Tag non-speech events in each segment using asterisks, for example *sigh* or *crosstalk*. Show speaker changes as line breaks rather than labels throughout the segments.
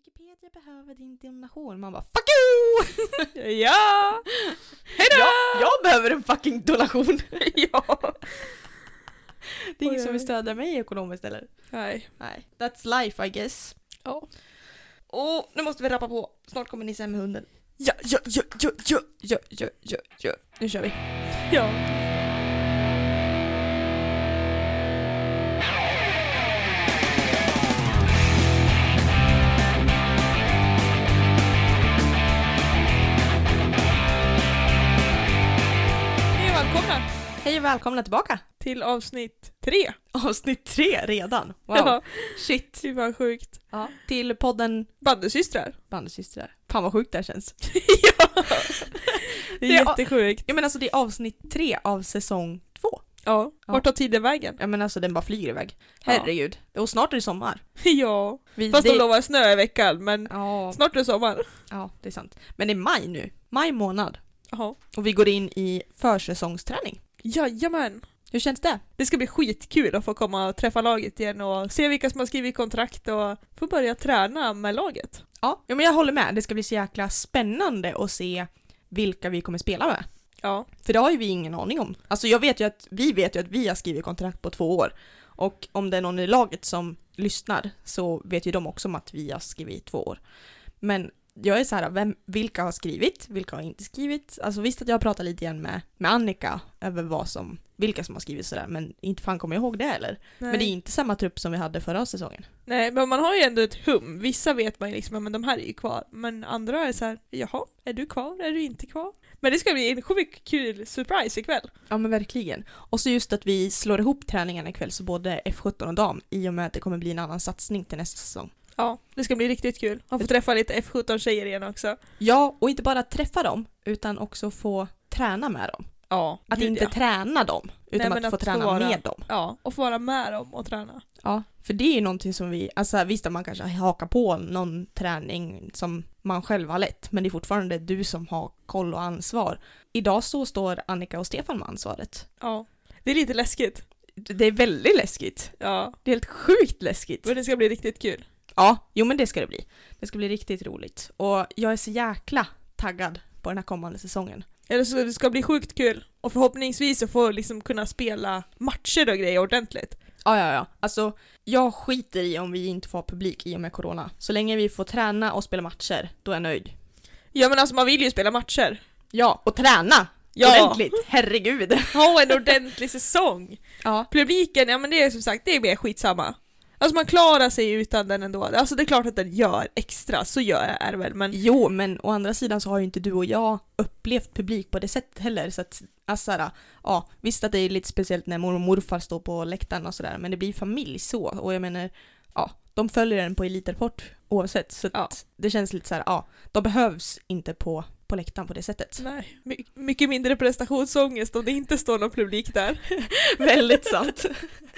Wikipedia behöver din donation. Man bara fuck you! *laughs* ja!
Hejdå!
Jag, jag behöver en fucking *laughs* donation.
ja!
Det är ingen
Oj,
som vill
oj.
stödja mig ekonomiskt eller?
Nej.
Nej. That's life I guess.
Ja.
Och nu måste vi rappa på. Snart kommer Nisse hem med hunden.
Ja, ja, ja, ja, ja, ja, ja, ja, ja. Nu kör vi. Ja. Hej och välkomna
Hej och välkomna tillbaka.
till avsnitt tre.
Avsnitt tre redan. Wow.
Ja,
Shit.
det var sjukt.
Ja. Till podden
Bandysystrar.
Bandysystrar. Fan vad sjukt det här känns.
*laughs*
*laughs*
ja, det är jättesjukt.
Jag menar alltså det är avsnitt tre av säsong två.
Ja,
Ja.
vart tar tiden vägen?
Jag menar alltså den bara flyger iväg.
Ja.
Herregud. Och snart är det sommar.
ja,
Vi,
fast de
det-
lovar snö i veckan men
ja,
snart är det sommar.
ja, det är sant. Men det är maj nu. Maj månad.
Jaha.
Och vi går in i försäsongsträning.
Jajamän!
Hur känns det?
Det ska bli skitkul att få komma och träffa laget igen och se vilka som har skrivit kontrakt och få börja träna med laget.
Ja, ja men jag håller med. Det ska bli så jäkla spännande att se vilka vi kommer spela med.
Ja,
För det har ju vi ingen aning om. Alltså jag vet ju att vi vet ju att vi har skrivit kontrakt på två år. Och om det är någon i laget som lyssnar så vet ju de också om att vi har skrivit i två år. Men jag är så här, vem, vilka har skrivit? Vilka har inte skrivit? Alltså visst att jag har pratat lite grann med, med Annika över vad som, vilka som har skrivit sådär, men inte fan kommer jag ihåg det heller.
nej.
Men det är inte samma trupp som vi hade förra säsongen.
nej, men man har ju ändå ett hum. Vissa vet man ju liksom, ja, men de här är ju kvar. Men andra är så här, jaha, är du kvar? Är du inte kvar? Men det ska bli en sjukt kul surprise ikväll.
Ja men verkligen. Och så just att vi slår ihop träningarna ikväll, så både F17 och dam, i och med att det kommer bli en annan satsning till nästa säsong.
Ja, det ska bli riktigt kul. Man får träffa lite F17-tjejer igen också.
Ja, och inte bara träffa dem, utan också få träna med dem.
Ja,
Att
gud,
inte
ja.
träna dem, utan
men
att, få
att få
träna
vara-
med dem.
Ja, och få vara med dem och träna.
Ja, för det är ju någonting som vi, alltså visst att man kanske hakar på någon träning som man själv har lett, men det är fortfarande du som har koll och ansvar. Idag så står Annika och Stefan med ansvaret.
Ja. Det är lite läskigt.
Det är väldigt läskigt.
Ja.
Det är helt sjukt läskigt.
Men det ska bli riktigt kul.
Ja, jo men det ska det bli. Det ska bli riktigt roligt. Och jag är så jäkla taggad på den här kommande säsongen.
Eller så det ska bli sjukt kul. Och förhoppningsvis så får liksom kunna spela matcher och grejer ordentligt.
Ja, ja, ja. Alltså, jag skiter i om vi inte får ha publik i och med corona. Så länge vi får träna och spela matcher, då är jag nöjd.
Ja men alltså man vill ju spela matcher.
Ja, och träna!
Ja.
Ordentligt! Herregud!
Ha en ordentlig *laughs* säsong!
Ja.
Publiken, *laughs* ja men det är som sagt, det är mer skitsamma. Alltså man klarar sig utan den ändå. Alltså det är klart att den gör extra, så gör är det väl men
Jo, men å andra sidan så har ju inte du och jag upplevt publik på det sättet heller. Så att, alltså, såhär, ja, visst att det är lite speciellt när mormor och morfar står på läktaren och sådär, men det blir familj så. Och jag menar, ja, de följer den på elitrapport oavsett. Så att
Ja.
det känns lite så här, ja, de behövs inte på, på läktaren på det sättet.
nej. My- mycket mindre prestationsångest om det inte står någon publik där.
Väldigt sant.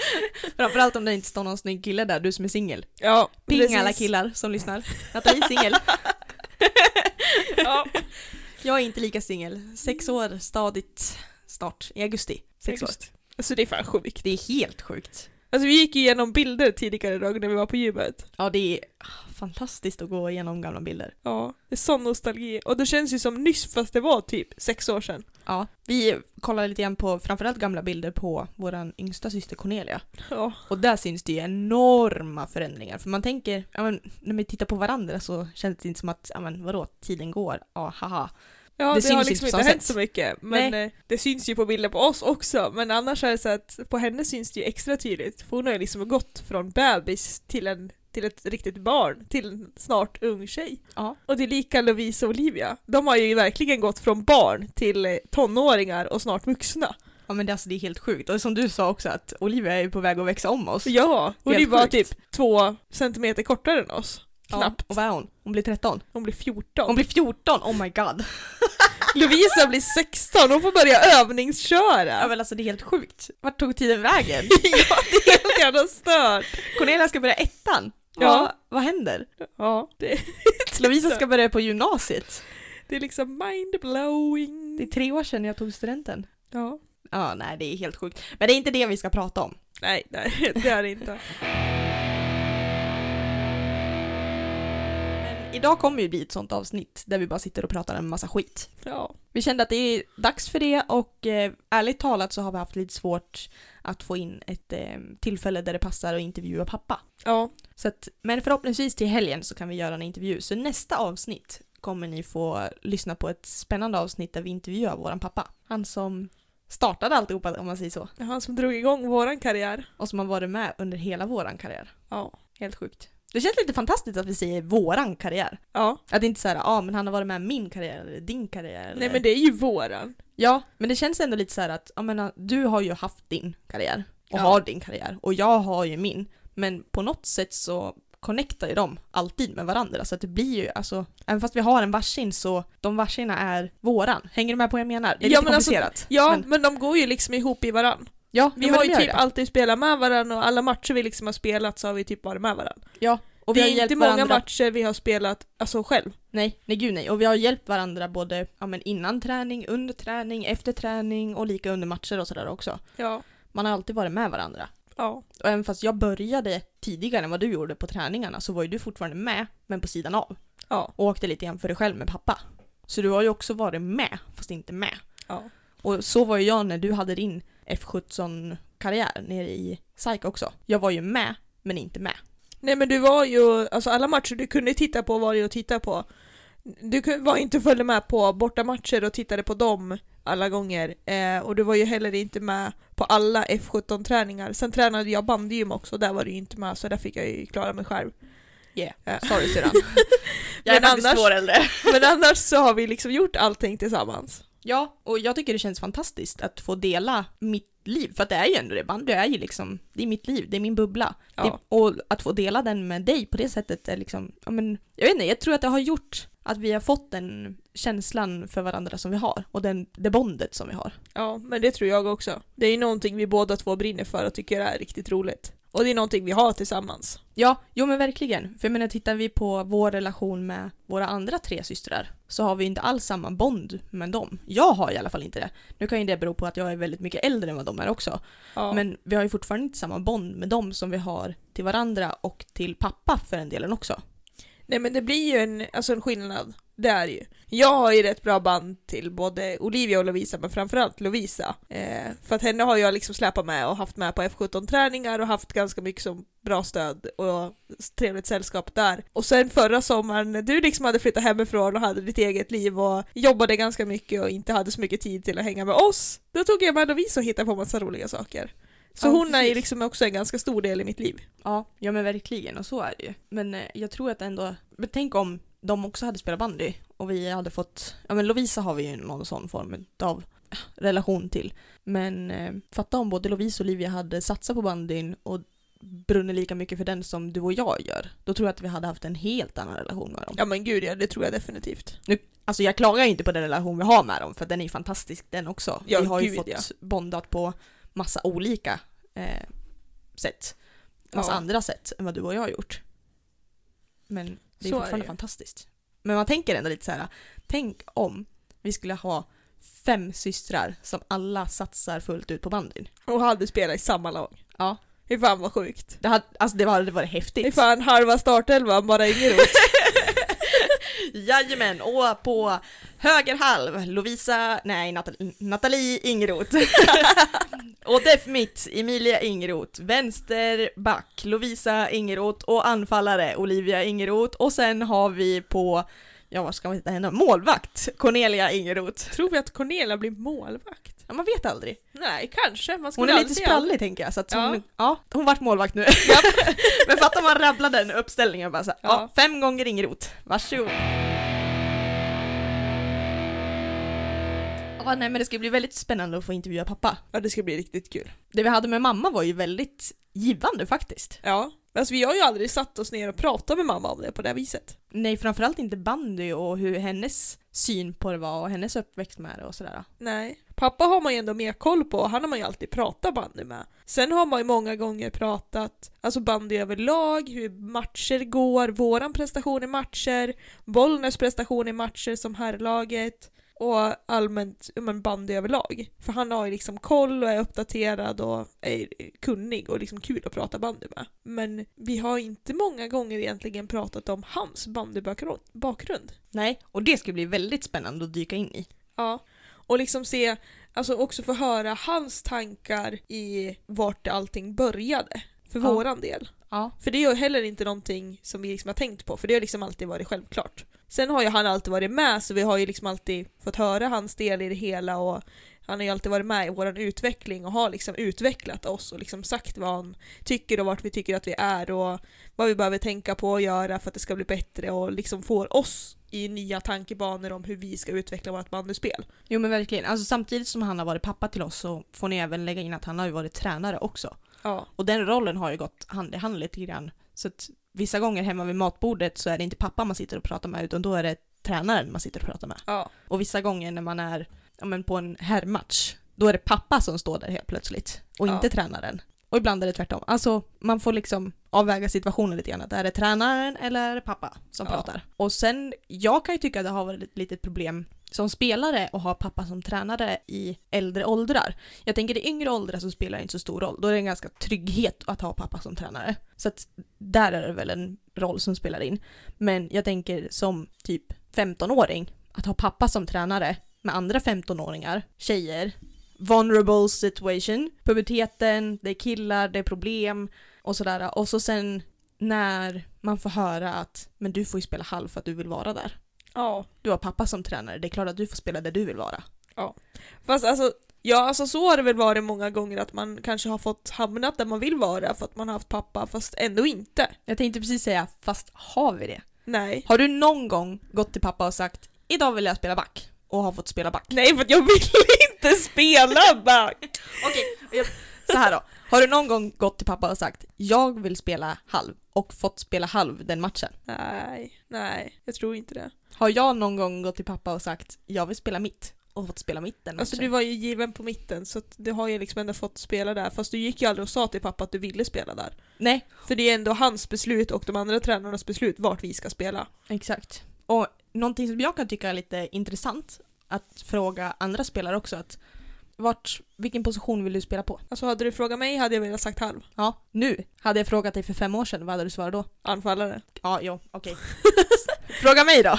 *laughs* Framförallt om det inte står någon snygg kille där, du som är singel.
Ja,
Ping
precis.
alla killar som lyssnar. Nathalie är singel.
*laughs* Ja,
Jag är inte lika singel. Sex år stadigt snart, i augusti. Sex år.
just. Alltså det är fan sjukt.
Det är helt sjukt.
Alltså vi gick ju igenom bilder tidigare idag när vi var på gymmet.
Ja, det är ah, fantastiskt att gå igenom gamla bilder.
Ja, det är sån nostalgi. Och det känns ju som nyss fast det var typ sex år sedan.
Ja, vi kollade lite grann på framförallt gamla bilder på vår yngsta syster Cornelia.
Ja,
Och där syns det ju enorma förändringar. För man tänker, ja, men, när vi tittar på varandra så känns det inte som att, ja, men, vadå, tiden går, ja, haha.
ja
Det
det, har
syns
liksom
inte på
inte
samma
hänt
sätt.
så mycket. Men eh, det syns ju på bilder på oss också. Men annars är det så att på henne syns det ju extra tydligt. För hon har ju liksom gått från bebis till, en, till ett riktigt barn, till en snart ung tjej.
Ja.
Och det är lika Lovisa och Olivia. De har ju verkligen gått från barn till eh, tonåringar och snart vuxna.
Ja men det, alltså, det är helt sjukt. Och som du sa också att Olivia är ju på väg att växa om oss.
Ja, och
Helt
det var
sjukt.
typ två centimeter kortare än oss. Knappt.
Och vad är hon? Hon blir 13.
Hon blir 14.
Hon blir 14, oh my god.
Lovisa blir 16, hon får börja
Ja
övningsköra.
men alltså det är helt sjukt. Vart tog tiden vägen?
*laughs* Ja, det är helt jävla stört.
Cornelia ska börja ettan.
Ja.
Vad, vad händer?
Ja, det,
Lovisa ska börja på gymnasiet.
det är liksom mindblowing.
Det är tre år sedan jag tog studenten.
Ja.
Ja, nej det är helt sjukt. Men det är inte det vi ska prata om.
Nej, *laughs* nej, det är det inte.
idag kommer ju bli ett sånt avsnitt där vi bara sitter och pratar en massa skit.
Ja.
Vi kände att det är dags för det och eh, ärligt talat så har vi haft lite svårt att få in ett eh, tillfälle där det passar att intervjua pappa.
Ja.
Så att, men förhoppningsvis till helgen så kan vi göra en intervju. Så nästa avsnitt kommer ni få lyssna på ett spännande avsnitt där vi intervjuar våran pappa. Han som startade alltihopa om man säger så.
Det är han som drog igång våran karriär.
Och som har varit med under hela våran karriär.
Ja.
Helt sjukt. Det känns lite fantastiskt att vi säger våran karriär.
Ja.
Att det inte såhär, ja ah, men han har varit med i min karriär eller din karriär. Eller...
Nej men det är ju våran.
Ja, men det känns ändå lite så här att, jag menar, du har ju haft din karriär och
Ja.
har din karriär och jag har ju min. Men på något sätt så connectar ju de alltid med varandra så att det blir ju alltså, även fast vi har en varsin så de varsina är våran. Hänger du med på vad jag menar? Det är
Ja,
lite
men alltså-
komplicerat.
Ja
men,
men, de går ju liksom ihop i varann.
ja,
Vi
ja, men
har
de
ju
gör
typ
det.
alltid spelat med varann och alla matcher vi liksom har spelat så har vi typ varit med varann.
och vi
det
har
är
hjälpt
inte många
varandra.
matcher vi har spelat alltså själv.
Nej, nej gud nej. Och vi har hjälpt varandra både ja, men innan träning, under träning, efter träning och lika under matcher och sådär också.
Ja.
Man har alltid varit med varandra.
Ja.
Och även fast jag började tidigare än vad du gjorde på träningarna så var ju du fortfarande med, men på sidan av.
Ja.
Och åkte lite grann för dig själv med pappa. Så du har ju också varit med, fast inte med.
Ja.
Och så var ju jag när du hade din F17-karriär nere i SAIK också. Jag var ju med, men inte med.
Nej men du var ju, alltså alla matcher du kunde titta på var ju att titta på. Du kun- var inte följde med på bortamatcher och tittade på dem alla gånger. Eh, och du var ju heller inte med på alla F17-träningar. Sen tränade jag bandygym också, där var du ju inte med så där fick jag ju klara mig själv.
Yeah.
Ja. *laughs*
Sorry syrran.
Jag är faktiskt två år
äldre.
Men annars så har vi liksom gjort allting tillsammans.
Ja, och jag tycker det känns fantastiskt att få dela mitt liv, för att det är ju ändå det, bandy är ju liksom, det är mitt liv, det är min bubbla.
Ja.
Det, och att få dela den med dig på det sättet är liksom, ja men, jag vet inte, jag tror att det har gjort att vi har fått den känslan för varandra som vi har och den, det bondet som vi har.
Ja, men det tror jag också. Det är ju någonting vi båda två brinner för och tycker är riktigt roligt. Och det är någonting vi har tillsammans.
Ja, jo men verkligen. För jag menar, tittar vi på vår relation med våra andra tre systrar så har vi inte alls samma bond med dem. Jag har i alla fall inte det. Nu kan ju det bero på att jag är väldigt mycket äldre än vad de är också.
Ja.
Men vi har ju fortfarande inte samma bond med dem som vi har till varandra och till pappa för den delen också.
Nej men det blir ju en, alltså en skillnad, det är det ju. Jag har ju rätt bra band till både Olivia och Lovisa, men framförallt Lovisa. Eh, för att henne har jag liksom släpat med och haft med på F17-träningar och haft ganska mycket som bra stöd och trevligt sällskap där. Och sen förra sommaren, när du liksom hade flyttat hemifrån och hade ditt eget liv och jobbade ganska mycket och inte hade så mycket tid till att hänga med oss, då tog jag med Lovisa och hittade på massa roliga saker. Så
Ja,
hon är ju
precis.
liksom också en ganska stor del i mitt liv.
Ja, ja men verkligen och så är det ju. Men eh, jag tror att ändå, men tänk om de också hade spelat bandy och vi hade fått, ja men Lovisa har vi ju någon sån form av eh, relation till. Men eh, fatta om både Lovisa och Olivia hade satsat på bandyn och brunnit lika mycket för den som du och jag gör. Då tror jag att vi hade haft en helt annan relation med dem.
Ja men gud ja, det tror jag definitivt.
Alltså jag klagar ju inte på den relation vi har med dem för den är ju fantastisk den också.
Ja,
vi har ju
gud,
fått
ja.
bondat på massa olika eh, sätt. Massa
Ja.
andra sätt än vad du och jag har gjort. Men det är
Så är
fortfarande
det ju.
fantastiskt. Men man tänker ändå lite så här. tänk om vi skulle ha fem systrar som alla satsar fullt ut på bandyn.
Och hade spelat i samma lag.
Ja.
Fy fan vad sjukt.
Det hade, alltså det hade varit häftigt.
Fy fan halva startelvan bara Ingeroth.
Jajamän, och på höger halv, Lovisa, nej Natal- Nathalie Ingroth. *laughs* och def mitt, Emilia Ingroth. Vänster back, Lovisa Ingroth och anfallare, Olivia Ingroth. Och sen har vi på, ja vad ska man hitta henne, målvakt, Cornelia Ingroth.
Tror vi att Cornelia blir målvakt?
Ja, man vet aldrig.
Nej, kanske. Man
Hon
skulle
är lite
aldrig säga aldrig.
sprallig tänker jag, så att hon, ja.
Ja.
hon vart målvakt nu. *laughs* Men fatta om man rabblar den uppställningen bara så här, ja.
Ja.
fem gånger Ingroth, varsågod. Ja, nej men det ska bli väldigt spännande att få intervjua pappa.
Ja, det ska bli riktigt kul.
Det vi hade med mamma var ju väldigt givande faktiskt.
Ja. Alltså vi har ju aldrig satt oss ner och pratat med mamma om det på det här viset.
Nej, framförallt inte bandy och hur hennes syn på det var och hennes uppväxt med det och sådär.
Nej. Pappa har man ju ändå mer koll på, han har man ju alltid pratat bandy med. Sen har man ju många gånger pratat, alltså bandy överlag, hur matcher går, våran prestation i matcher, Bollnäs prestation i matcher som herrlaget. och allmänt ja, men bandy överlag. För han har ju liksom koll och är uppdaterad och är kunnig och liksom kul att prata bandy med. Men vi har inte många gånger egentligen pratat om hans bandybakgrund. bakgrund.
Nej, och det ska bli väldigt spännande att dyka in i.
Ja. Och liksom se, alltså också få höra hans tankar i vart allting började. För
Ja.
våran del.
Ja.
För det är ju heller inte någonting som vi liksom har tänkt på, för det har liksom alltid varit självklart. Sen har ju han alltid varit med, så vi har ju liksom alltid fått höra hans del i det hela och han har ju alltid varit med i våran utveckling och har liksom utvecklat oss och liksom sagt vad han tycker och vart vi tycker att vi är och vad vi behöver tänka på och göra för att det ska bli bättre och liksom får oss i nya tankebanor om hur vi ska utveckla vårt bandyspel.
Jo men verkligen, alltså samtidigt som han har varit pappa till oss så får ni även lägga in att han har ju varit tränare också.
Ja.
Och den rollen har ju gått hand i hand lite grann. Så att vissa gånger hemma vid matbordet så är det inte pappa man sitter och pratar med utan då är det tränaren man sitter och pratar med.
Ja.
Och vissa gånger när man är ja, men på en herrmatch, då är det pappa som står där helt plötsligt och
Ja.
inte tränaren. Och ibland är det tvärtom. Alltså man får liksom avväga situationen lite grann. Att är det tränaren eller är det pappa som
Ja.
pratar? Och sen, jag kan ju tycka att det har varit ett litet problem som spelare och ha pappa som tränare i äldre åldrar. Jag tänker i yngre åldrar så spelar det inte så stor roll. Då är det en ganska trygghet att ha pappa som tränare. Så att där är det väl en roll som spelar in. Men jag tänker som typ 15-åring, att ha pappa som tränare med andra 15-åringar, tjejer, vulnerable situation, puberteten, det är killar, det är problem och sådär. Och så sen när man får höra att men du får ju spela halv för att du vill vara där.
Ja.
Du har pappa som tränare, det är klart att du får spela där du vill vara.
Fast alltså, ja alltså så har det väl varit många gånger att man kanske har fått hamnat där man vill vara för att man har haft pappa fast ändå inte.
Jag tänkte precis säga, fast har vi det?
Nej.
Har du någon gång gått till pappa och sagt idag vill jag spela back och har fått spela back?
*laughs* Nej för att jag ville inte spela back!
Så här då. Har du någon gång gått till pappa och sagt jag vill spela halv och fått spela halv den matchen?
Nej, nej, jag tror inte det.
Har jag någon gång gått till pappa och sagt jag vill spela mitt och fått spela mitt den matchen?
Alltså du var ju given på mitten så att du har ju liksom ändå fått spela där fast du gick ju aldrig och sa till pappa att du ville spela där.
Nej,
För det är ändå hans beslut och de andra tränarnas beslut vart vi ska spela.
exakt. Och någonting som jag kan tycka är lite intressant att fråga andra spelare också att vart, vilken position vill du spela på?
Alltså hade du frågat mig hade jag velat sagt halv.
Ja, nu. Hade jag frågat dig för fem år sedan, vad hade du svarat då?
Anfallare.
Ja, jo, okej. Fråga mig då.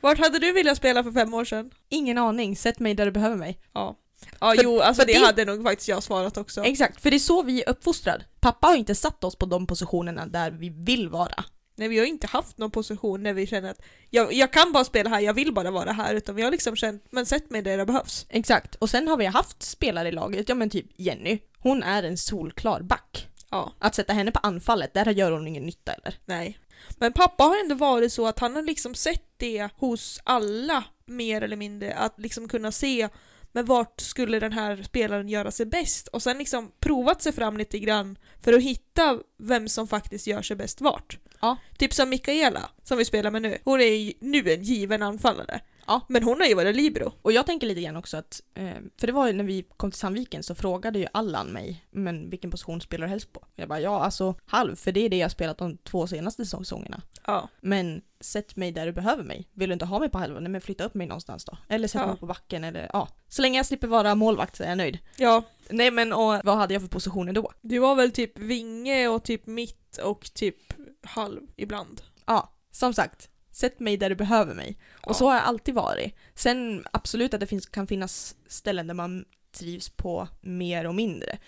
Vart hade du velat spela för fem år sedan?
Ingen aning, sätt mig där du behöver mig.
Ja. Ja
För-
jo, alltså
för
det,
det-
hade nog faktiskt jag svarat också.
Exakt, för det är så vi är uppfostrad. Pappa har inte satt oss på de positionerna där vi vill vara.
Nej vi har inte haft någon position när vi känner att jag, jag kan bara spela här, jag vill bara vara här. Utan vi har liksom känt, men sätt mig där det behövs.
Exakt, och sen har vi haft spelare i laget, ja men typ Jenny, hon är en solklar back.
Ja,
Att sätta henne på anfallet, där gör hon ingen nytta eller?
nej. Men pappa har ändå varit så att han har liksom sett det hos alla mer eller mindre. Att liksom kunna se men vart skulle den här spelaren göra sig bäst? Och sen liksom provat sig fram lite grann för att hitta vem som faktiskt gör sig bäst vart.
Ja.
Typ som Mikaela, som vi spelar med nu. Hon är ju nu en given anfallare.
Ja.
Men hon har ju varit libero.
Och jag tänker lite grann också att, eh, för det var ju när vi kom till Sandviken så frågade ju Allan mig, men vilken position spelar du helst på? Jag bara, ja alltså halv, för det är det jag spelat de två senaste säsongerna.
Ja.
Men sätt mig där du behöver mig. Vill du inte ha mig på halvan, nej men flytta upp mig någonstans då. Eller sätt
Ja.
mig på backen eller ja. Så länge jag slipper vara målvakt så är jag nöjd.
Ja,
Nej men och vad hade jag för positioner då?
Du var väl typ vinge och typ mitt och typ halv ibland.
Ja, som sagt. Sätt mig där du behöver mig. Och
Ja.
så har jag alltid varit. Sen absolut att det finns, kan finnas ställen där man trivs på mer och mindre.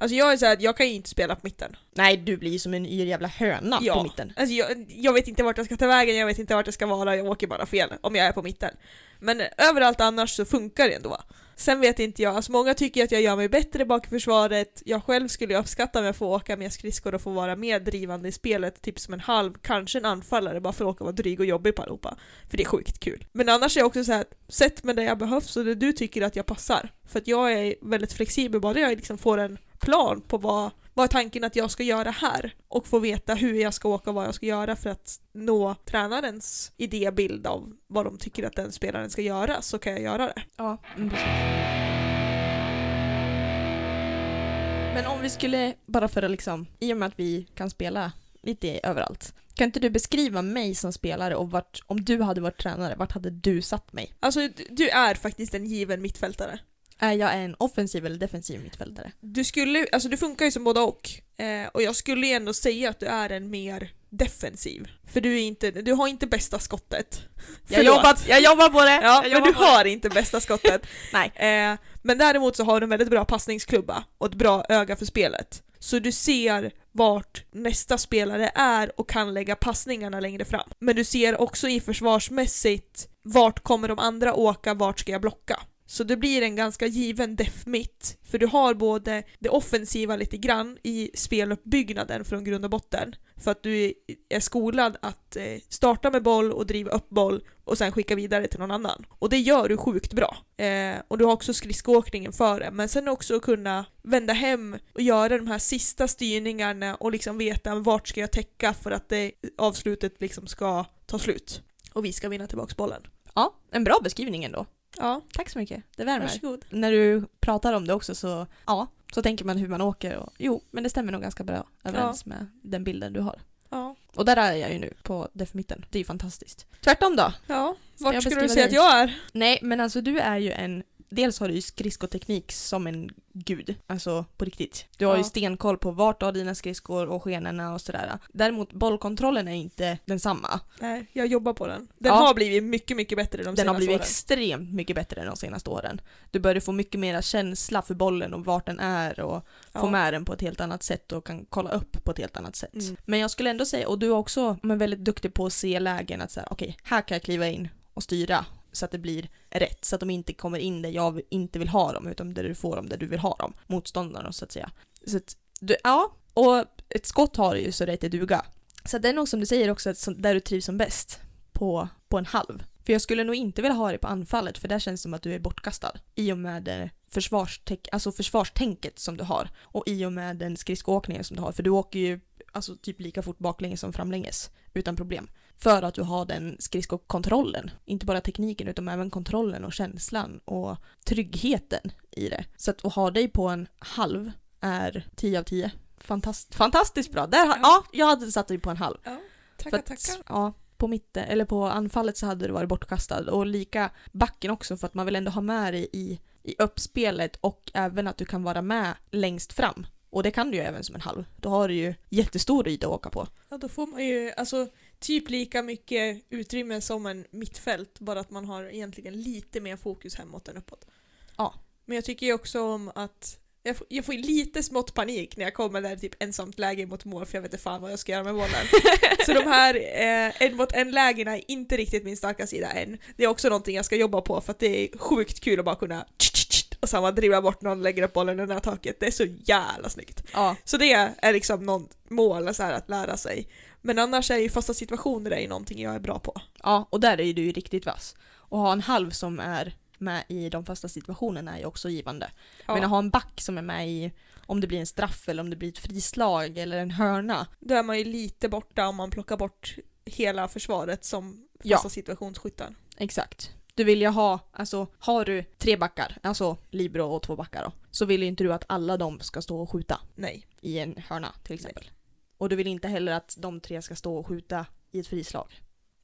Alltså jag är såhär att jag kan ju inte spela på mitten.
Nej, du blir ju som en yr jävla höna
Ja.
på mitten.
Alltså jag, jag vet inte vart jag ska ta vägen, jag vet inte vart jag ska vara, jag åker bara fel om jag är på mitten. Men överallt annars så funkar det ändå. Sen vet inte jag, alltså många tycker att jag gör mig bättre bak i försvaret, jag själv skulle ju uppskatta om jag får åka mer skridskor och få vara mer drivande i spelet, typ som en halv, kanske en anfallare bara för att åka och vara dryg och jobbig på allihopa. För det är sjukt kul. Men annars är jag också så här, sätt mig där jag behövs och där du tycker att jag passar. För att jag är väldigt flexibel, bara jag liksom får en plan på vad, vad är tanken att jag ska göra här och få veta hur jag ska åka och vad jag ska göra för att nå tränarens idébild av vad de tycker att den spelaren ska göra så kan jag göra det.
Ja, mm, precis. Men om vi skulle, bara för att liksom, i och med att vi kan spela lite överallt. Kan inte du beskriva mig som spelare och vart, om du hade varit tränare, vart hade du satt mig?
Alltså d- du är faktiskt en given mittfältare.
Är jag en offensiv eller defensiv mittfältare?
Du skulle, alltså du funkar ju som både och. Eh, och jag skulle ju ändå säga att du är en mer defensiv. För du är inte, du har inte bästa skottet.
Jag, jobbat, jag jobbar på det!
Ja,
jag
men
jobbar
du
på det.
har inte bästa skottet.
*laughs* Nej.
Eh, men däremot så har du en väldigt bra passningsklubba och ett bra öga för spelet. Så du ser vart nästa spelare är och kan lägga passningarna längre fram. Men du ser också i försvarsmässigt vart kommer de andra åka, vart ska jag blocka? Så det blir en ganska given def mitt, för du har både det offensiva lite grann i speluppbyggnaden från grund och botten, för att du är skolad att eh, starta med boll och driva upp boll och sen skicka vidare till någon annan. Och det gör du sjukt bra. Eh, och du har också skridskoåkningen för det, men sen också kunna vända hem och göra de här sista styrningarna och liksom veta vart ska jag täcka för att det avslutet liksom ska ta slut. Och vi ska vinna tillbaks bollen.
Ja, en bra beskrivning ändå.
Ja,
Tack så mycket, det värmer.
varsågod.
När du pratar om det också så, ja, så tänker man hur man åker och jo, men det stämmer nog ganska bra överens med den bilden du har.
Ja.
Och där är jag ju nu, på defmitten. Det är ju fantastiskt. Tvärtom då?
ja.
jag
Vart skulle
beskriva
du säga
dig?
att jag är?
Nej, men alltså du är ju en... Dels har du ju skridskoteknik som en gud, alltså på riktigt. Du har ju
Ja.
stenkoll på vart du har dina skridskor och skenorna och sådär. Däremot bollkontrollen är inte densamma.
Nej, jag jobbar på den. Den
Ja.
har blivit mycket, mycket bättre de
Den
senaste
har blivit
åren.
extremt mycket bättre de senaste åren. Du börjar få mycket mera känsla för bollen och vart den är och få
Ja.
med den på ett helt annat sätt och kan kolla upp på ett helt annat sätt.
Mm.
Men jag skulle ändå säga, och du är också men, väldigt duktig på att se lägen att säga okej, här kan jag kliva in och styra så att det blir rätt, så att de inte kommer in där jag inte vill ha dem, utan där du får dem där du vill ha dem, motståndarna så att säga. Så att, du, ja, och ett skott har du ju så rätt det duga. Så det är nog som du säger också, att som- där du trivs som bäst, på, på en halv. För jag skulle nog inte vilja ha dig på anfallet för där känns det som att du är bortkastad. I och med eh, försvarstäck, alltså försvarstänket som du har. Och i och med den skridskoåkningen som du har. För du åker ju alltså, typ lika fort baklänges som framlänges. Utan problem. För att du har den skridskokontrollen. Inte bara tekniken utan även kontrollen och känslan och tryggheten i det. Så att, att ha dig på en halv är 10 av 10. Fantast, fantastiskt bra! Där, ha- ja, jag hade satt dig på en halv.
Ja.
För
Tackar,
att,
tackar.
Ja, på mitten, eller på anfallet så hade det varit bortkastad och lika backen också för att man vill ändå ha med dig i, i uppspelet och även att du kan vara med längst fram. Och det kan du ju även som en halv. Då har du ju jättestor yta att åka på.
Ja, då får man ju alltså typ lika mycket utrymme som en mittfält, bara att man har egentligen lite mer fokus hemåt än uppåt.
Ja.
Men jag tycker ju också om att jag får, jag får ju lite smått panik när jag kommer där typ ensamt läge mot mål för jag vet inte fan vad jag ska göra med bollen. Så de här eh, en mot en lägena är inte riktigt min starka sida än. Det är också någonting jag ska jobba på för att det är sjukt kul att bara kunna och samma dribbla bort någon, lägger upp bollen under taket. Det är så jävla snyggt.
Ja.
Så det är liksom något mål så här, att lära sig. Men annars är ju fasta situationer är ju någonting jag är bra på.
Ja, och där är ju du ju riktigt vass. Och ha en halv som är med i de fasta situationerna är ju också givande.
Ja.
Men att ha en back som är med i om det blir en straff eller om det blir ett frislag eller en hörna.
Då är man ju lite borta om man plockar bort hela försvaret som fasta
Ja.
situationsskyttar.
Exakt. Du vill ju ha, alltså har du tre backar, alltså Libro och två backar då, så vill ju inte du att alla de ska stå och skjuta
Nej.
i en hörna till exempel. Och du vill inte heller att de tre ska stå och skjuta i ett frislag.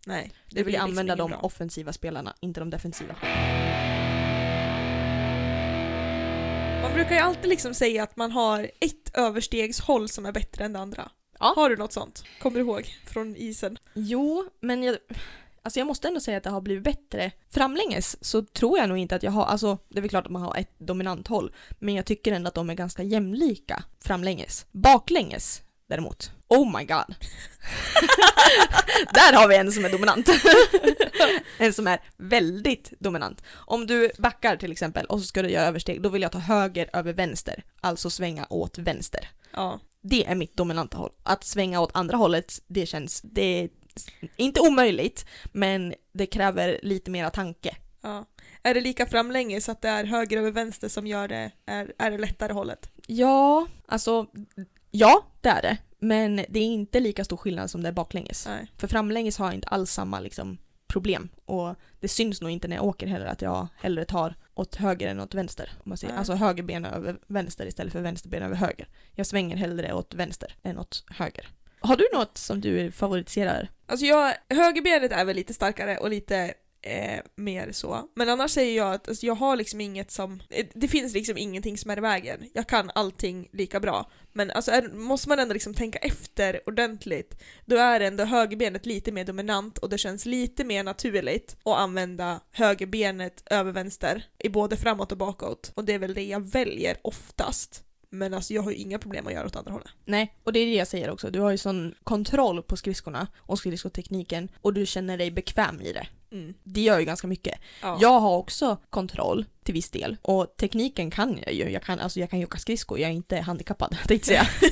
Nej.
Du vill ju
blir liksom
använda
ingen
de
bra.
offensiva spelarna, inte de defensiva.
Man brukar ju alltid liksom säga att man har ett överstegshåll som är bättre än det andra.
Ja.
Har du något sånt? Kommer du ihåg? Från isen?
Jo, men jag, alltså jag måste ändå säga att det har blivit bättre. Framlänges så tror jag nog inte att jag har, alltså det är väl klart att man har ett dominant håll, men jag tycker ändå att de är ganska jämlika framlänges. Baklänges däremot, oh my god. *laughs* Där har vi en som är dominant. *laughs* en som är väldigt dominant. Om du backar till exempel och så ska du göra översteg, då vill jag ta höger över vänster, alltså svänga åt vänster.
Ja.
Det är mitt dominanta håll. Att svänga åt andra hållet, det känns, det är inte omöjligt, men det kräver lite mera tanke.
ja. Är det lika framlänges så att det är höger över vänster som gör det, är, är det lättare hållet?
Ja, alltså, ja, det är det. Men det är inte lika stor skillnad som det är baklänges.
Nej.
För framlänges har jag inte alls samma liksom, problem. Och det syns nog inte när jag åker heller att jag hellre tar åt höger än åt vänster. Om man säger.
Nej.
Alltså höger ben över vänster istället för vänster ben över höger. Jag svänger hellre åt vänster än åt höger. Har du något som du favoritiserar?
Alltså jag, högerbenet är väl lite starkare och lite eh, mer så. Men annars säger jag att alltså jag har liksom inget som, eh, det finns liksom ingenting som är i vägen. Jag kan allting lika bra. Men alltså är, måste man ändå liksom tänka efter ordentligt, då är ändå högerbenet lite mer dominant och det känns lite mer naturligt att använda högerbenet över vänster i både framåt och bakåt. Och det är väl det jag väljer oftast. Men alltså jag har ju inga problem att göra åt andra hållet.
Nej, och det är det jag säger också. Du har ju sån kontroll på skridskorna och skridskotekniken och du känner dig bekväm i det.
Mm.
Det gör ju ganska mycket.
Ja.
Jag har också kontroll till viss del och tekniken kan jag ju. Jag kan, alltså jag kan ju åka skridskor, jag är inte handikappad *laughs* tänkte jag
*laughs*
säga.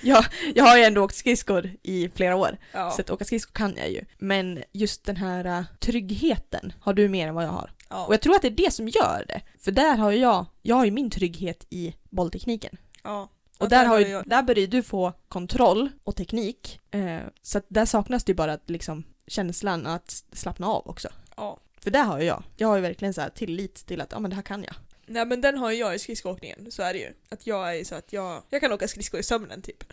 jag, jag har ju ändå åkt skridskor i flera år,
Ja.
så att åka skridskor kan jag ju. Men just den här eh, tryggheten har du mer än vad jag har.
ja.
Och jag tror att det är det som gör det. För där har ju jag, jag har ju min trygghet i bolltekniken.
ja.
Och där, har ju, där börjar ju du få kontroll och teknik. Eh, så att där saknas det ju bara att liksom, känslan att slappna av också.
Ja.
För där har ju jag. Jag har ju verkligen så här tillit till att ja, men det här kan jag.
Nej men den har ju jag i skridskoåkningen, så är det ju. Att jag är så att jag, jag kan åka skridskor i sömnen typ.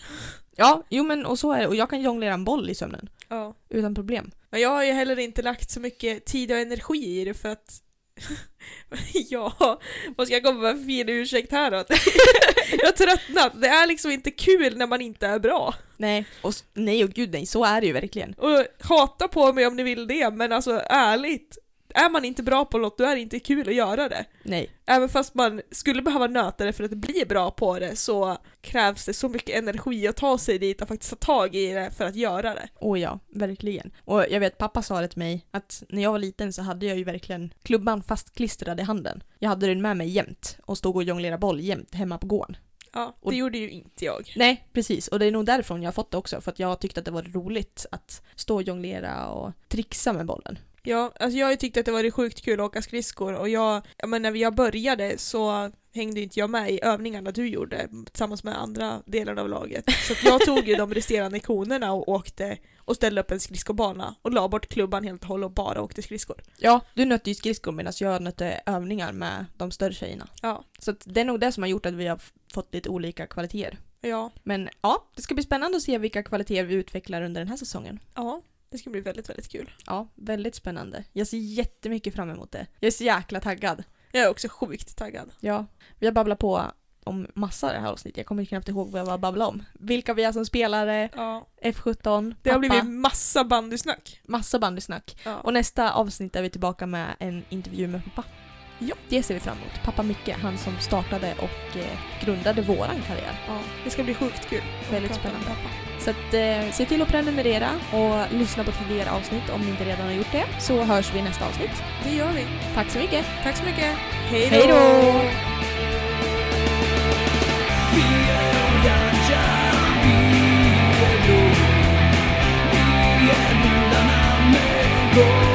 Ja, jo men och så är det. Och jag kan jonglera en boll i sömnen.
Ja.
Utan problem.
Men jag har ju heller inte lagt så mycket tid och energi i det för att *laughs* ja, vad ska jag komma med för fin ursäkt här då? *laughs* jag har tröttnat, det är liksom inte kul när man inte är bra.
Nej. Och, s- nej och gud nej, så är det ju verkligen.
Och hata på mig om ni vill det, men alltså ärligt, är man inte bra på något då är det inte kul att göra det.
Nej.
Även fast man skulle behöva nöta det för att bli bra på det så krävs det så mycket energi att ta sig dit och faktiskt ta tag i det för att göra det.
Och ja, verkligen. Och jag vet pappa sa det till mig att när jag var liten så hade jag ju verkligen klubban fastklistrad i handen. Jag hade den med mig jämt och stod och jonglerade boll jämt hemma på gården.
Ja, det
Och-
gjorde ju inte jag.
Nej, precis. Och det är nog därifrån jag har fått det också. För att jag tyckte att det var roligt att stå och jonglera och trixa med bollen.
Ja, alltså jag har ju tyckt att det var sjukt kul att åka skridskor och jag, jag men när jag började så hängde ju inte jag med i övningarna du gjorde tillsammans med andra delar av laget. Så att jag tog ju de resterande konerna och åkte och ställde upp en skridskobana och la bort klubban helt och hållet och bara åkte skridskor.
Ja, du nötte ju skridskor medan jag nötte övningar med de större tjejerna.
Ja,
Så att det är nog det som har gjort att vi har f- fått lite olika kvaliteter.
ja,
Men ja, det ska bli spännande att se vilka kvaliteter vi utvecklar under den här säsongen.
ja, det ska bli väldigt, väldigt kul.
Ja, väldigt spännande. Jag ser jättemycket fram emot det. Jag är så jäkla taggad.
Jag är också sjukt taggad.
Ja, vi har babblat på om massa i det här avsnittet. Jag kommer knappt ihåg vad jag var babbla om. Vilka vi är som spelare,
Ja.
F17,
Det har
pappa.
blivit massa bandysnack.
massa bandysnack.
Ja.
Och nästa avsnitt är vi tillbaka med en intervju med pappa.
Ja.
Det ser vi fram emot. Pappa Micke, han som startade och eh, grundade våran karriär.
ja, det ska bli sjukt kul. att
Väldigt
prata med
spännande.
pappa.
Så att, eh, se till att prenumerera och lyssna på tidigare avsnitt om ni inte redan har gjort det. Så hörs vi i nästa avsnitt.
Det gör vi.
Tack så mycket!
Tack så mycket. Hej
Hej då!
Vi är gudarna med guld